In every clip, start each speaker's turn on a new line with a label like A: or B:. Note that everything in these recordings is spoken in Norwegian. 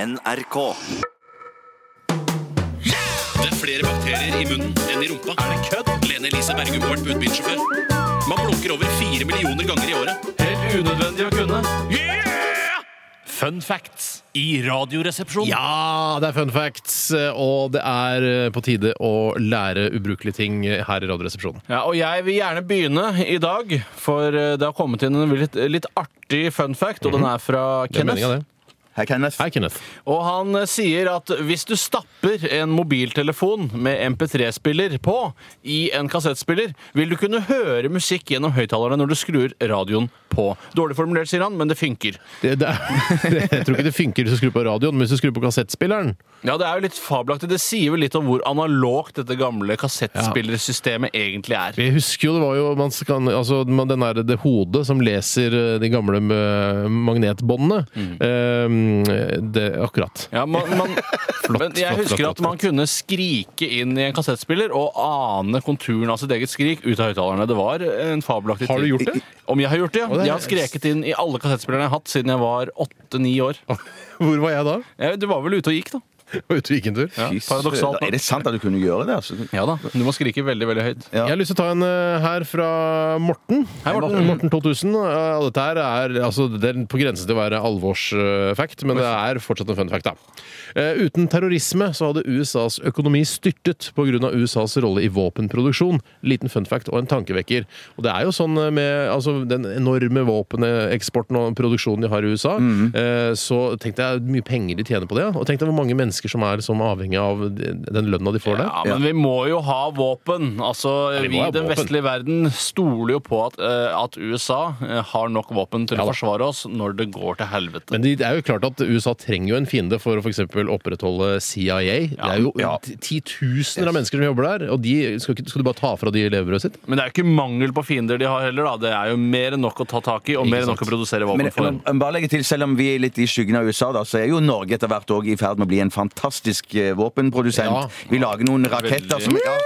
A: NRK.
B: Det er flere bakterier i munnen enn i rumpa. Er det kødd? Lene Elise Bergum var budbilsjåfør. Man blunker over fire millioner ganger i året.
C: Helt unødvendig å kunne. Fun facts i Radioresepsjonen.
D: Ja, det er fun facts, og det er eh, på tide å lære ubrukelige ting her i Radioresepsjonen.
C: Ja, og jeg vil gjerne begynne i dag, for eh, det har kommet inn en litt, litt artig fun fact, og den er fra
D: Det er
C: Kenneth.
D: meningen, det.
A: Hei, Kenneth.
D: Hei, Kenneth.
C: Og han eh, sier at hvis du stapper en mobiltelefon med MP3-spiller på i en kassettspiller, vil du kunne høre musikk gjennom høyttalerne når du skrur radioen på. Dårlig formulert, sier han, men det funker.
D: Det, det er, jeg tror ikke det funker hvis du skrur på radioen, men hvis du skrur på kassettspilleren
C: Ja, det er jo litt fabelaktig. Det sier vel litt om hvor analogt dette gamle kassettspillersystemet egentlig er.
D: Jeg husker jo, det var jo man kan, altså, man- den der, det hodet som leser eh, de gamle eh, magnetbåndene. Eh, det, akkurat.
C: Ja, man, man, men jeg
D: flott,
C: husker
D: flott,
C: at man kunne skrike inn i en kassettspiller og ane konturen av sitt eget skrik ut av høyttalerne. Det var en fabelaktig
D: Har du
C: tid.
D: gjort det?
C: Om jeg har gjort det, ja.
D: det er-
C: Jeg har skreket inn i alle kassettspillerne jeg har hatt siden jeg var åtte-ni år.
D: Hvor var jeg da?
C: Jeg, du var vel ute og gikk, da.
D: Ute og gikk en tur.
C: Ja,
A: Fy
C: paradoksalt.
A: søren. Er det sant at du kunne gjøre det? Altså?
C: Ja da. Du må skrike veldig, veldig høyt.
A: Ja.
D: Jeg har lyst til å ta en eh, her fra Morten.
C: Hei, Morten.
D: Morten 2000. eh, og Dette her er, altså, det er på grensen til å være alvorsfact, men det er fortsatt en fun fact. Da. Eh, Uten terrorisme så hadde USAs økonomi styrtet pga. USAs rolle i våpenproduksjon. Liten fun fact og en tankevekker. Og det er jo sånn med altså, den enorme våpeneksporten og produksjonen de har i USA,
C: Mhm.
D: eh, så tenk deg hvor mye penger de tjener på det. Og tenk deg hvor mange mennesker som er som avhengig av den lønna de får der.
C: Ja, men vi må jo ha våpen. Altså,
D: vi
C: Vi
D: må
C: i
D: ha
C: den
D: våpen.
C: vestlige verden stoler jo på at, eh, at USA eh, har nok våpen til
D: Ja
C: å
D: da.
C: forsvare oss når det går til helvete.
D: Men det er jo klart at USA trenger jo en fiende for å for eksempel opprettholde CIA. det er jo
A: ja.
D: ti- titusener av mennesker som jobber der, og de, skal, ikke, skal du bare ta fra de levebrødet sitt?
C: Men det er jo ikke mangel på fiender de har heller, da. Det er jo mer enn nok å ta tak i, og mer enn nok å produsere
A: Men
C: våpen
A: jeg
C: for.
A: må- jeg må bare legge til, Selv om vi er litt i skyggen av USA, da, så er jo Norge etter hvert også i ferd med å bli en fantastisk eh, våpenprodusent.
D: Ja.
A: Vi lager noen raketter
C: Veldig.
A: som ja, ja.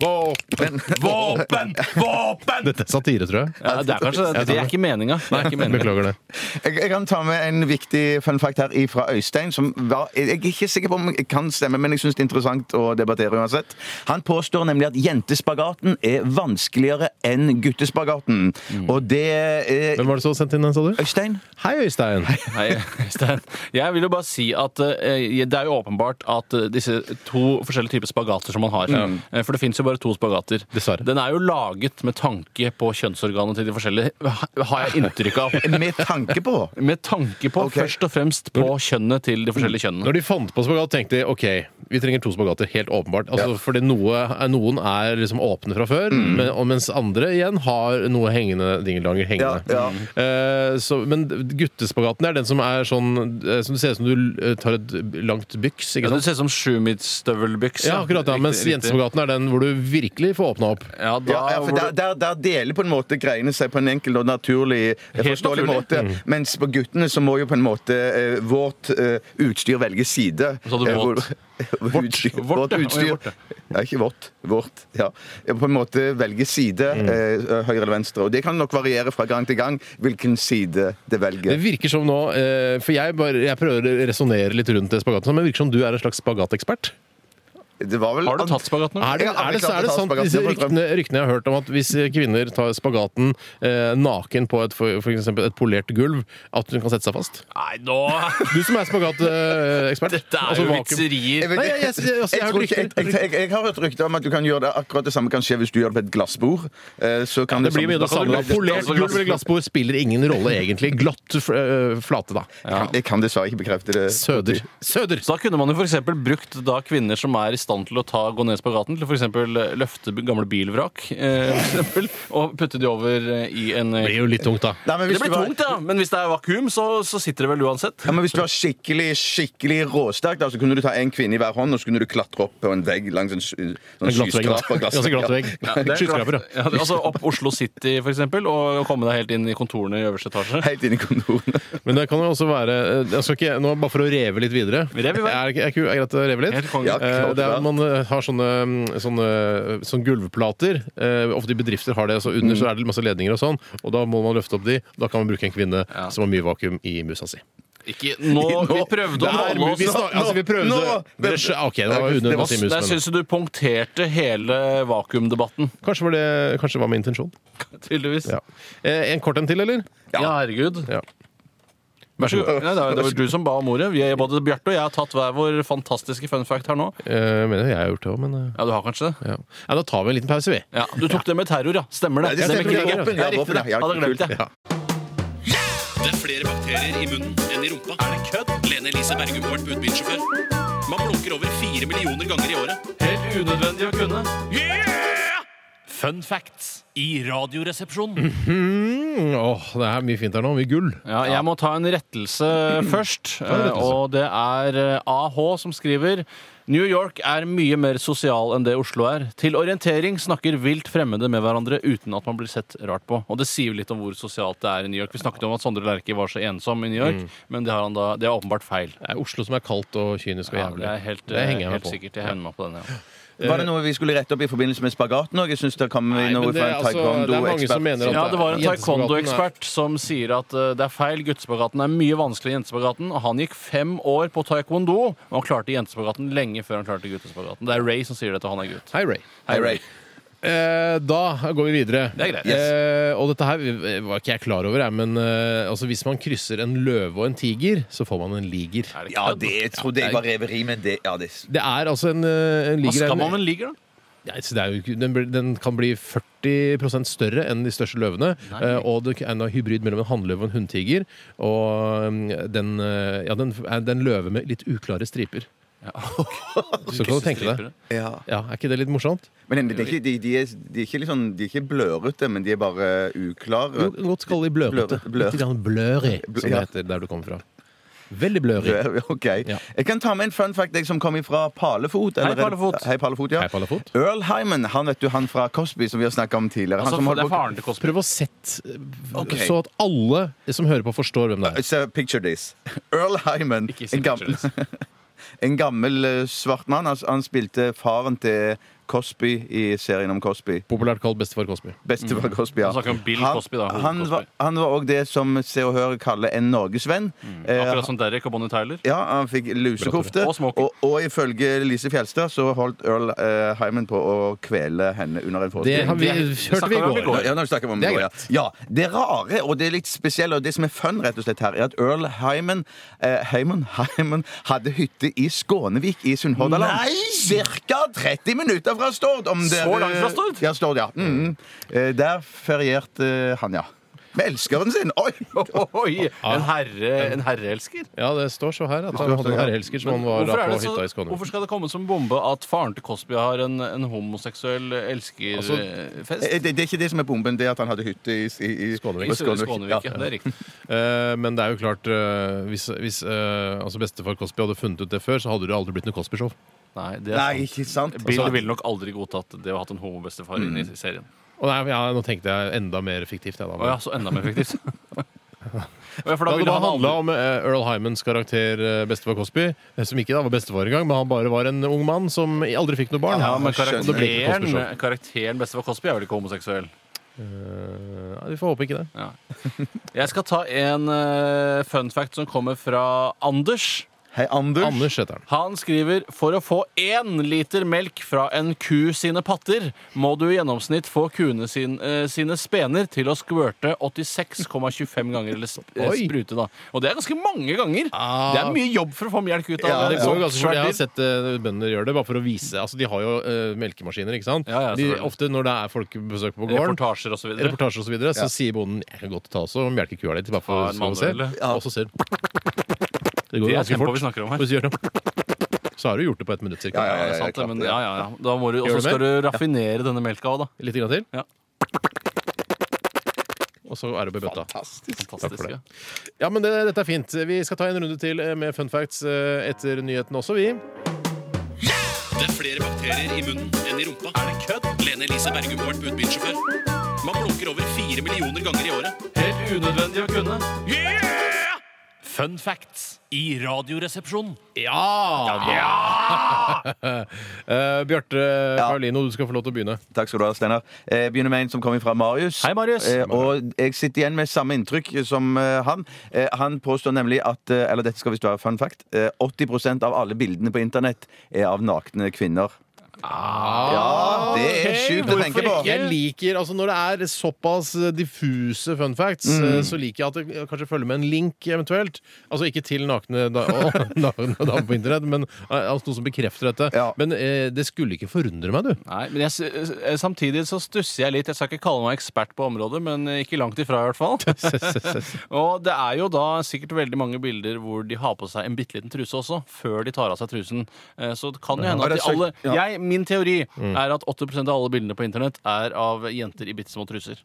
D: Våpen!
C: Våpen! Våpen!
D: Dette er satire, tror jeg.
C: Ja, det er kanskje det. Det er ikke meninga. Det er ikke meningen.
D: Beklager det.
A: jeg, jeg kan ta med en viktig fun fact her fra Øystein. som var, Jeg er ikke sikker på om jeg kan stemme, men jeg syns det er interessant å debattere uansett. Han påstår nemlig at jentespagaten er vanskeligere enn guttespagaten.
C: Mm.
A: Og det er
D: Hvem var det som sendte inn den, sa du?
A: Øystein?
D: Hei, Øystein!
C: Nei, Øystein. Jeg vil jo bare si at eh, det er jo åpenbart at eh, disse to forskjellige typer spagater som man har eh, For det fins jo bare to spagater.
D: Mm. Dessverre.
C: Den er jo laget med tanke på kjønnsorganet til de forskjellige, har jeg inntrykk av.
A: Med tanke på.
C: Med tanke på
A: Ok.
C: først og fremst på kjønnet til de forskjellige kjønnene.
D: Når de fant på spagat, tenkte de ok, vi trenger to spagater. Helt åpenbart. Altså, Fordi noe, noen er liksom åpne fra før, men, og mens andre igjen har noe hengende dingeldanger hengende.
A: Ja, ja.
D: Eh, så, men guttespagaten er den som er sånn eh, Som det ser ut som du eh, tar et langt byks.
C: Ja,
D: Ikke
C: det
D: sant?
C: ser ut som sjumilsstøvelbykse.
D: Ja, akkurat da, Mens
C: Riktig, riktig.
D: jentespagaten er den hvor du virkelig får åpna opp.
C: Ja, da,
A: Ja, ja, for
C: hvor
A: der,
C: du-
A: der, der deler på en måte greiene seg på en enkel og naturlig eh, forståelig
C: naturlig.
A: måte. Mens på guttene så må jo på en måte eh, vårt eh, utstyr velge side.
C: Sa du
A: Eh,
C: vårt?
A: hvor- Vårt utstyr.
C: Vårt,
A: Vårt
C: ja. Oi,
A: utstyr.
C: vårt, ja.
A: Nei, ikke vårt. Vårt. Ja. Eh, På en måte velge side, eh, høyre eller venstre. Og det kan nok variere fra gang til gang hvilken side det
D: Det
A: velger.
D: virker som nå eh, For jeg, bare, jeg prøver å resonnere litt rundt det spagaten, men det virker som du er en slags spagatekspert.
A: Det var vel
C: Har du tatt spagat nå?
D: Er det,
A: Jeg har
D: er det,
A: klart å
D: er det
A: ta
D: sant,
A: spagaten,
D: disse
A: jeg prøver.
D: ryktene, ryktene jeg har hørt om at hvis kvinner tar spagaten eh, naken på et, for, for eksempel et polert gulv, at hun kan sette seg fast?
C: Nei, nå
D: Du som er spagatekspert. Altså,
C: Dette er jo vitserier.
A: vet-
D: Nei, jeg- jeg- jeg- altså, jeg har
A: tror
D: hørt
A: ikke-
D: rykter-
A: jeg- jeg- jeg har hørt rykter om at du kan gjøre det akkurat det samme kan skje hvis du gjør det på et glassbord. Eh, Så kan
D: Det blir mye
A: samme-
D: det samme. da. Polert gulv eller glassbord spiller ingen rolle, egentlig. Glatt f- øh, flate, da.
A: Jeg kan- Jeg kan dessverre ikke bekrefte det.
D: Søder. Søder!
C: Så da kunne man jo for eksempel brukt da kvinner som er i stand til å ta, gå ned spagaten, til for eksempel eh, løfte b- gamle bilvrak, eh, for eksempel, og putte de over eh, i en
D: Det
C: eh,
D: blir jo litt tungt, da.
A: Nei, men hvis
C: Det blir
A: du var-
C: tungt, ja, men hvis det er vakuum, så, så sitter det vel uansett.
A: Ja, men hvis du var skikkelig skikkelig råsterk, da, så kunne du ta en kvinne i hver hånd og så kunne du klatre opp på en vegg langs en, sky- sånn
D: En glatt vegg, da.
A: skyskraper.
D: Ganske glatt vegg.
C: Ja, det er
D: Skyskraper,
C: klart. Ja, det- altså opp Oslo City, for eksempel, og komme deg helt inn i kontorene i øverste etasje.
A: Helt inn i kontorene.
D: Men det kan jo også være eh, jeg skal ikke, nå Bare for å reve litt videre.
C: Rev i vei.
D: Er, det ikke- er, ikke- er greit å reve
C: Helt
D: litt?
C: konge.
A: Ja,
D: Eh,
A: klart
D: det
A: det.
D: er, man eh, har sånne, mm, sånne, sånne gulvplater. Eh, ofte i bedrifter har det, så under så er det masse ledninger og sånn. Og da må man løfte opp de. Da kan man bruke en kvinne som har mye vakuum i musa si.
C: Ikke nå, Vi prøvde å
D: Der,
C: holde
D: men
C: oss
D: vi, snak, altså, vi prøvde
A: Nå!
D: Dere skj- OK, det var
A: Det
D: under
A: var-
D: en time.
C: Der
D: men-
C: syns jeg du punkterte hele vakuumdebatten.
D: Kanskje var det kanskje det var med intensjon.
C: Tydeligvis.
D: Ja. Eh, en kort en til, eller?
C: Ja, herregud.
D: Ja.
C: Vær så god. Nei, det var- det var du som ba om ordet. Vi, både Bjarte og jeg har tatt hver vår fantastiske fun fact her nå.
D: Eh, mener jeg jeg har gjort det òg, men eh,
C: Ja, du har kanskje det?
D: ja. ja. Da tar vi en liten pause, vi.
C: Ja, Du tok det med terror, ja. Stemmer det.
A: det
C: det,
A: stemmer.
C: med krigen.
A: Ja, våpen, ja,
C: Ja, riktig
A: våpen,
C: det.
A: ja.
C: Hadde glemt det.
D: Ja.
B: Det er flere bakterier i munnen enn i rumpa. Er det kødd? Lene Elise Bergum har vært budbilsjåfør. Man blunker over fire millioner ganger i året.
C: Helt unødvendig å kunne. Fun facts i Radioresepsjonen.
D: Mm, åh, det er mye fint her nå. Mye gull.
C: Ja, jeg må ta en rettelse først.
D: en
C: eh,
D: rettelse.
C: Og det er eh, AH som skriver New York er mye mer sosial enn det Oslo er. Til orientering snakker vilt fremmede med hverandre uten at man blir sett rart på. Og det sier jo litt om hvor sosialt det er i New York. Vi snakket om at Sondre Lerche var så ensom i New York,
D: Mm.
C: men det, har han da, det er åpenbart feil.
D: Det er Oslo som er kaldt og kynisk og
C: Ja,
D: jævlig.
C: det er helt, eh,
D: Det henger jeg meg
C: helt
D: på.
C: sikkert. Jeg hevner meg på den, ja.
A: Var det noe vi skulle rette opp i forbindelse med spagaten òg? Jeg syns det kom
D: Nei,
A: noe
D: men det,
A: fra
D: er
A: en
D: altså, det er mange som
A: taekwondo-ekspert.
D: mener at
C: Ja, det var en
D: jentespagaten er-
C: taekwondo-ekspert som sier at eh, det er feil. Guttespagaten er mye vanskeligere enn jentespagaten. Og han gikk fem år på taekwondo, og han klarte jentespagaten lenge før han klarte guttespagaten. Det er Ray som sier dette, og han er gutt.
D: Hei, Ray.
A: Hei, Ray.
D: Eh, da går vi videre.
C: Det er greit.
D: Eh, og dette her var ikke jeg klar over, jeg, men eh, altså, hvis man krysser en løve og en tiger, så får man en liger.
C: Er det
A: Ja,
C: kødd?
A: det trodde jeg var reveri, men det Ja, det
D: Det er altså en, eh,
C: Hva
D: en liger
C: skal
D: er en-
C: man med en liger, Altså, da?
D: Nei, så det er jo, ikke- den, blir- den kan bli 40 større enn de største løvene. eh, og det er en hybrid mellom en hannløve og en hunntiger. Og mm, den, eh, ja, den er den løve med litt uklare striper. Så kan du tenke deg.
A: ja.
D: Ja, Er ikke det litt morsomt?
A: Men det er ikke, de, de, er, de, er ikke litt sånn- de er ikke blørete, men de er bare uklare.
D: Jo, godt kalle de blørete.
A: Blør- blør.
D: Litt grann blørig, som det
A: Ja.
D: heter der du kommer fra. Veldig blørig.
A: Blø- Ok.
D: Ja.
A: Jeg kan ta med en fun fact jeg, som kom fra Palefot. eller-
C: Palefot.
A: Hei, Palefot, ja.
D: Hei, Palafot.
A: Earl Hyman, han vet du, han fra Cosby, som vi har snakka om tidligere. Han
C: Altså,
A: som
C: det
A: holder
C: er faren til Cosby.
D: Prøv å sette eh,
A: Ok.
D: så at alle som hører på, forstår hvem
C: Eh,
D: det er.
A: Så picture this. Earl Hyman.
C: Ikke si
A: En gammel,
C: pictures.
A: en gammel eh, svart mann. Han, han spilte faren til Cosby i serien om Cosby.
D: Populært kalt bestefar Cosby.
A: Bestefar Cosby, ja.
C: Mm. Han snakker om Bill Cosby, da,
A: Han,
C: hoved-Cosby.
A: var- han var òg det som Se og Hør kaller en norgesvenn. Eh,
C: Mm. Akkurat som Derek og Bonnie Tyler.
A: ja, Han fikk lusekofte.
C: Bra, Tore. Og smoking.
A: og, og ifølge Lise Fjelstad så holdt Earl eh, Hyman på å kvele henne under en
D: Det
A: forestilling.
D: har vi,
C: Det- det
D: hørte vi i
C: snakker vi om i
D: går.
C: går.
A: Ja, nå snakker vi om
D: Det
A: det,
D: er
A: ja. ja, det rare og det litt spesielle og det som er fun rett og slett her, er at Earl Hyman, eh, Hyman, Hyman hadde hytte i Skånevik i Sunnhordland. Cirka 30 minutter fra Stord. Om dere-
C: Så langt fra Stord?
A: Ja, Stord, ja. Mhm. Eh, der ferierte eh, han, ja. Med elskeren sin. Oi!
C: Oi, en, herre, en herreelsker?
D: Ja, det står så her at han hadde en herreelsker som han var
C: Hvorfor,
D: da
C: er
D: på
C: det så,
D: hytta i Skåne.
C: hvorfor skal det komme som bombe at faren til Cosby har en, en homoseksuell
D: Altså,
C: elskerfest?
A: Eh, Det, det er ikke det som er bomben, det er at han hadde hytte i, i, i
D: Skånevik.
A: på
C: I Sør- Skånevik, ja.
A: Ja.
C: Det er riktig.
D: Eh, men det er jo klart eh, Hvis, hvis eh, altså bestefar Cosby hadde funnet ut det før, så hadde det aldri blitt noe Cosby-show.
C: Nei, det er sant.
A: Nei,
C: Altså, Mm.
A: ikke sant? Altså,
C: Bill ville nok aldri godtatt det å ha hatt en homobestefar inne i serien.
D: Og nei, ja, nå tenkte jeg enda mer fiktivt. Jeg, da.
C: Å ja, så enda mer effektivt. ja, for da
D: Da det
C: ville
D: da
C: han
D: handla
C: aldri
D: om eh, Earl Hymans karakter eh, bestefar Cosby, eh, som ikke da var bestefar engang, men han bare var en ung mann som aldri fikk noe barn.
C: ja, men
A: skjønner.
D: Og det ble ikke
C: karakteren,
D: Cosby-show.
C: karakteren bestefar Cosby er vel ikke homoseksuell?
D: Eh, ja, vi får håpe ikke det.
C: Ja. Jeg skal ta en eh, fun fact som kommer fra Anders.
A: Hei, Anders.
D: Anders heter han.
C: Han skriver for å få én liter melk fra en ku sine patter, må du i gjennomsnitt få kuene sin, eh, sine spener til å skvørte 86,25 ganger, eller sp eh,
D: Oi.
C: sprute, da. Og det er ganske mange ganger.
D: Ah.
C: Det er mye jobb for å få melk ut av sånn
A: Ja,
C: det.
D: Det går jo ganske fort. Jeg har sett eh, bønder gjøre det, bare for å vise. Altså, de har jo eh, melkemaskiner, ikke sant?
C: Ja, ja,
D: de,
C: selvfølgelig.
D: ofte når det er folkebesøk på gården,
C: Reportasjer og så videre.
D: reportasjer osv., så, videre, så sier bonden jeg kan godt ta også og melke kua litt. Bare
C: Ja,
D: for
C: en
D: å se.
C: manuell.
D: Og så ser du Det går
C: Det er
D: ganske
C: tempoet
D: fort.
C: vi snakker om her.
D: Hvis du gjør sånn så har du gjort det på ett minutt cirka.
A: Ja, ja,
C: Ja, det er sant,
A: klart
C: det, men
A: det.
C: ja, ja, ja. Da må du, og
D: Gjør
C: så
D: du
C: skal du raffinere denne melka òg, da.
D: Litt grann til.
C: Ja.
D: Og så er det oppi bøtta. Takk for
C: Fantastisk.
D: det.
C: Ja.
D: Ja, men det, dette er fint. Vi skal ta en runde til med fun facts eh, etter nyheten også, vi.
B: Det er flere bakterier i munnen enn i rumpa. Er det kødd? Lene Elise Bergum har vært budbilsjåfør. Man blunker over fire millioner ganger i året.
C: Helt unødvendig å kunne.
B: Fun facts i Radioresepsjonen.
D: Eh, Bjarte Paulino, du skal få lov til å begynne.
A: Takk skal du ha, Steinar. Jeg begynner med en som kommer fra Marius.
C: Hei, Marius.
A: Eh, Og jeg sitter igjen med samme inntrykk som eh, han. Eh, Han påstår nemlig at eh, Eller dette skal visst være fun fact. eh, 80 av alle bildene på internett er av nakne kvinner.
C: Ah.
A: ja, det er
D: Ok,
A: sjukt å tenke på.
D: hvorfor ikke? Jeg liker, altså Når det er såpass eh, diffuse fun facts, eh, så liker jeg at det kanskje følger med en link eventuelt. Altså ikke til nakne da- å, nakne damer på internett, men eh, altså, noe som bekrefter dette.
A: Ja.
D: Men eh, det skulle ikke forundre meg, du.
C: Nei, men jeg, s- eh, Samtidig så stusser jeg litt. Jeg skal ikke kalle meg ekspert på området, men ikke langt ifra i hvert fall. og det er jo da sikkert veldig mange bilder hvor de har på seg en bitte liten truse også, før de tar av seg trusen. Eh, Så det kan jo hende at de alle jeg, Min teori er at 80 av alle bildene på internett er av jenter i bitte små truser.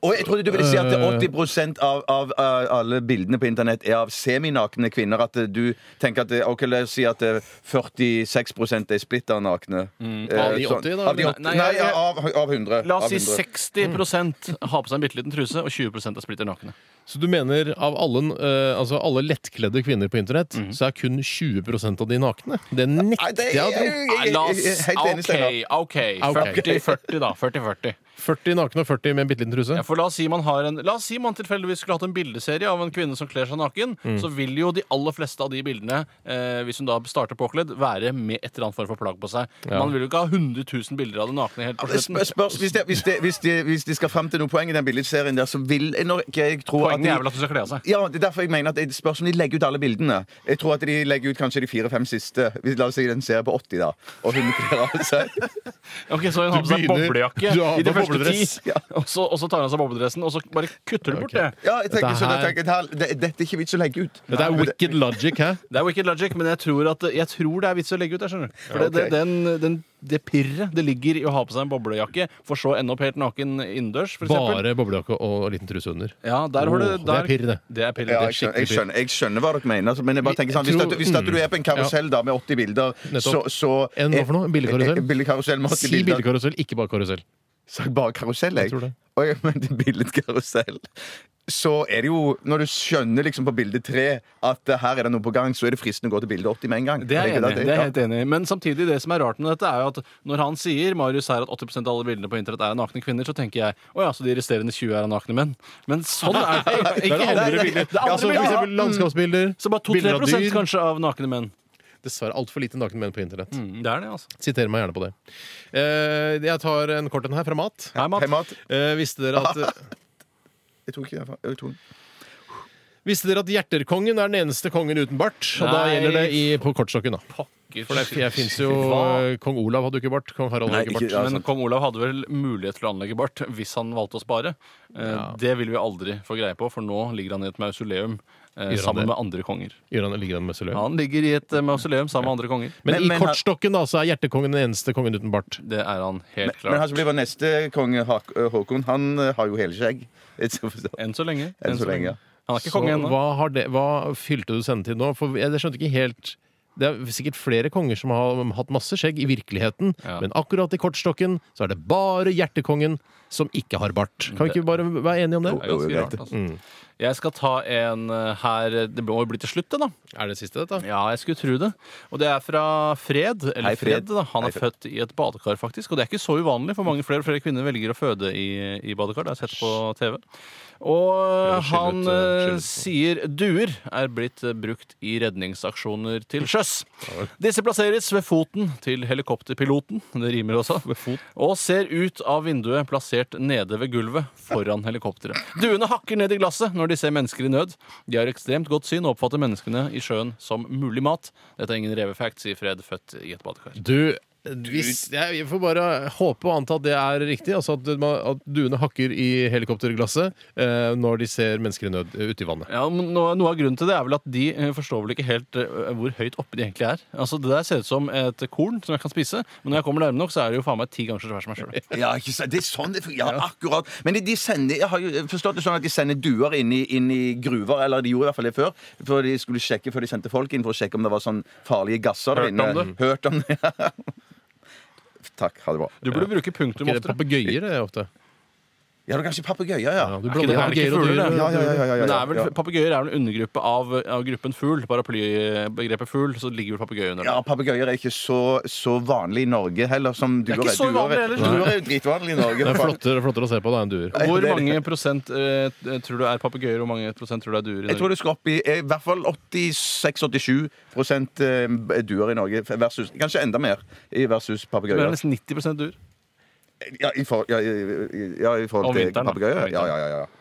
A: Og jeg trodde du ville si at 80 av, av, av alle bildene på internett er av seminakne kvinner. At eh, du tenker at eh, Ok, la oss si at eh, 46 er splitter nakne.
C: Mm.
A: Eh, sånn.
D: Av de 80 da,
A: Av de
D: eller?
A: 80,
C: Nei,
A: nei,
C: jeg- jeg-
A: av, av 100.
C: La oss
A: av
C: si
A: 100.
C: 60 har på seg en bitte liten truse, og 20 er splitter nakne.
D: Så du mener av alle, eh, altså alle lettkledde kvinner på internett, så er kun 20 av de nakne? Det
A: Nei,
D: nekter
A: det-
D: jeg å tro.
C: Nei, La oss,
A: helt enig, Steinar.
C: OK, OK.
D: Ok.
C: 40-40, da. 40-40.
D: 40 nakne og 40 med en bitte liten truse.
C: Ja, for la oss si man har en La oss si man tilfeldigvis skulle hatt en bildeserie av en kvinne som kler seg naken,
D: Mm.
C: så vil jo de aller fleste av de bildene, eh, hvis hun da starter påkledd, være med et eller annet form for plagg på seg. Man vil jo ikke ha 100 000 bilder av det nakne helt på
A: Det
C: slutten.
A: spør- spørs- hvis, det, hvis, det, hvis, det, hvis de skal frem til noe poeng i den billedserien der, så vil jeg nok jeg tro at
C: Poenget
A: de,
C: er vel at hun skal kle av seg.
A: ja, det er derfor jeg mener at det spørs om de legger ut alle bildene. Jeg tror at de legger ut kanskje de fire-fem siste. Hvis- La oss si den serie på 80, da. Og hun altså. kler av seg.
C: Ok, Så hun har på seg
D: begynner-
C: boblejakke
D: du har
C: i de
D: på
C: første ti,
D: bobledress.
C: og så, og så tar hun av seg bobledressen, og så bare kutter du bort
D: Ok.
C: det.
A: Ja, jeg tenker
D: Dette
A: sånn, jeg
D: her-
A: tenker, det her- det, Dette er ikke vits å legge ut.
D: Dette er wicked logic, hæ?
C: Det er wicked logic, men jeg tror, at, jeg tror det er vits å legge ut det. skjønner du For det,
A: ok.
C: det, den, den, det pirret det ligger i å ha på seg en boblejakke, for så å ende opp helt naken innendørs, for eksempel.
D: Bare boblejakke og liten truse under.
C: Ja, der var det,
D: Åh,
C: der,
D: det er pirr, det.
C: Det er pirr,
A: Ja,
C: det er
A: jeg, skjønner,
C: skikkelig
A: jeg,
C: pirr.
A: skjønner, jeg skjønner hva dere mener, altså, men jeg bare tenker sånn, hvis,
D: tror- mm.
A: at, hvis at du er på en karusell da, med 80 bilder, så, så
D: En hva for noe? En bildekarusell?
A: En bildekarusell med 80
D: Si
A: bilder.
D: bildekarusell, ikke bare karusell.
A: Sa jeg bare karusell, jeg?
D: Jeg tror det.
A: Oi, men det er billedkarusell. Så er det jo, når du skjønner liksom på bilde tre at eh, her er det noe på gang, så er det fristende å gå til bilde 80 med en gang.
C: Det er jeg
A: ikke
C: enig, i, det er jeg helt enig i. Men samtidig, det som er rart med dette, er jo at når han sier Marius her at 80 av alle bildene på internett er av nakne kvinner, så tenker jeg å ja, så de resterende 20 er av nakne menn. Men sånn er det jo
D: Det er
C: ikke.
D: andre
C: heller.
D: bilder.
C: Det er andre
D: altså, for
C: bilder. Mm.
D: eksempel landskapsbilder.
C: Så bare
D: bilder
C: 2-3
D: av
C: prosent
D: dyr.
C: kanskje av nakne menn.
D: Dessverre altfor lite nakne menn på internett.
C: Mm, Det er det, altså.
D: Siter meg gjerne på det. Eh, jeg tar en kort en her fra Mat.
C: Hei, Matt.
A: Hei, Matt.
D: Eh, visste dere at
A: Jeg tok ikke den. fra- jeg tok den.
D: Visste dere at Hjerterkongen er den eneste kongen uten bart? Og da
C: Nei.
D: gjelder det i, på kortstokken, da.
C: Pokker.
D: For det jeg finnes jo eh,
C: Hva?
D: Kong Olav hadde jo ikke bart. Kong Harald
A: Nei,
D: hadde ikke
A: ikke-
D: bart.
A: ja,
C: Men
A: sant.
C: kong Olav hadde vel mulighet til å anlegge bart hvis han valgte å spare. Eh, Det vil vi aldri få greie på, for nå ligger han i et mausoleum eh,
D: han det?
C: sammen med andre konger.
D: Gjør han, ligger han med søløv?
C: Han ligger i et eh, mausoleum sammen med andre konger.
D: Men,
A: Men-
D: i
A: men-
D: kortstokken da, så er Hjerterkongen den eneste kongen uten bart.
C: Det er han helt
A: Men han
C: klart.
A: som blir vår neste konge, Hå- Håkon, han eh, har jo helskjegg. Enn
C: Enn så lenge.
A: så lenge. ja.
C: Han er ikke
D: Så
C: konge ennå.
D: hva, har det, hva fylte du sendetid nå? For jeg jeg skjønte ikke helt det er sikkert flere konger som har hatt masse skjegg i virkeligheten,
C: Ja.
D: men akkurat i kortstokken så er det bare hjertekongen som ikke har bart. Kan vi ikke bare være enige om det?
C: Det er ganske
A: Jo, jo,
C: rart, altså. Jeg skal ta en eh, her Det må jo bli til slutt, det, da.
D: Er det siste dette?
C: Ja, jeg skulle tro det. Og det er fra Fred. Eller
A: Hei,
C: Fred.
A: Fred.
C: da. Han er
A: Hei, Fred.
C: født i et badekar, faktisk. Og det er ikke så uvanlig, for mange flere og flere kvinner velger å føde i, i badekar. Det har jeg sett på TV. Og
D: skyld
C: han
D: ut, eh,
C: eh,
D: skyld ut.
C: sier duer er blitt eh, brukt i redningsaksjoner til sjøs. Disse plasseres ved foten til helikopterpiloten, det rimer også, og ser ut av vinduet plassert nede ved gulvet foran helikopteret. Duene hakker ned i glasset når de ser mennesker i nød. De har ekstremt godt syn og oppfatter menneskene i sjøen som mulig mat. Dette er ingen revefact, sier Fred, født i et badekar.
D: Du, hvis, jeg, vi får bare håpe og anta at det er riktig. Altså at, man- at duene hakker i helikopterglasset eh, når de ser mennesker i nød eh, ute i vannet.
C: Ja, men noe, noe av grunnen til det er vel at de eh, forstår vel ikke helt eh, hvor høyt oppe de egentlig er. Altså, Det der ser ut som et korn som jeg kan spise, men når jeg kommer nærme nok, så er det jo faen meg ti ganger så svært som meg sjøl.
A: Ja, ikke sant? det er sånn det fungerer. Ja, akkurat. Men de, de sender, jeg har jo forstått det sånn at de sender duer inn i, inn i gruver, eller de gjorde i hvert fall det før, for de skulle sjekke før de sendte folk inn for å sjekke om det var sånn farlige gasser der
C: Hørt
A: inne.
C: om det.
A: Hørt om det. ja. Takk. Ha det bra.
C: Du burde bruke punktum
D: Ikke det
C: oftere.
D: Papegøyer er det ofte.
A: Ja, det er kanskje papegøyer, ja.
D: Ja,
A: Ja,
D: du
C: Er ikke
D: blander
C: det, er det
D: alger
C: ikke
D: og
C: fugler,
D: dyr.
C: det?
A: ja, ja, ja, ja, ja,
C: Men det er vel,
A: ja.
C: Papegøyer er vel en undergruppe av, av gruppen fugl. Paraplybegrepet fugl, så ligger vel papegøye under.
A: ja papegøyer er ikke så, så vanlig i Norge heller som duer.
C: ikke så
A: Duer er-
C: vanlig heller.
A: Duer er jo dritvanlig i Norge.
D: Det er flottere, flottere å se på da enn duer.
C: det. Hvor
A: det er det.
C: mange prosent eh, tror du er papegøyer, og hvor mange prosent tror du er duer? i
A: Jeg tror
C: Norge?
A: det skal opp i eh, i hvert fall 86-87 eh, duer i Norge. Versus, kanskje enda mer i versus
C: Det er
A: papegøyer.
C: nesten 90 duer.
A: Ja, i for- ja, i- i- ja, i
C: Om
A: forhold til
C: vinteren, da.
A: papegøyer. Ja, ja, ja, ja.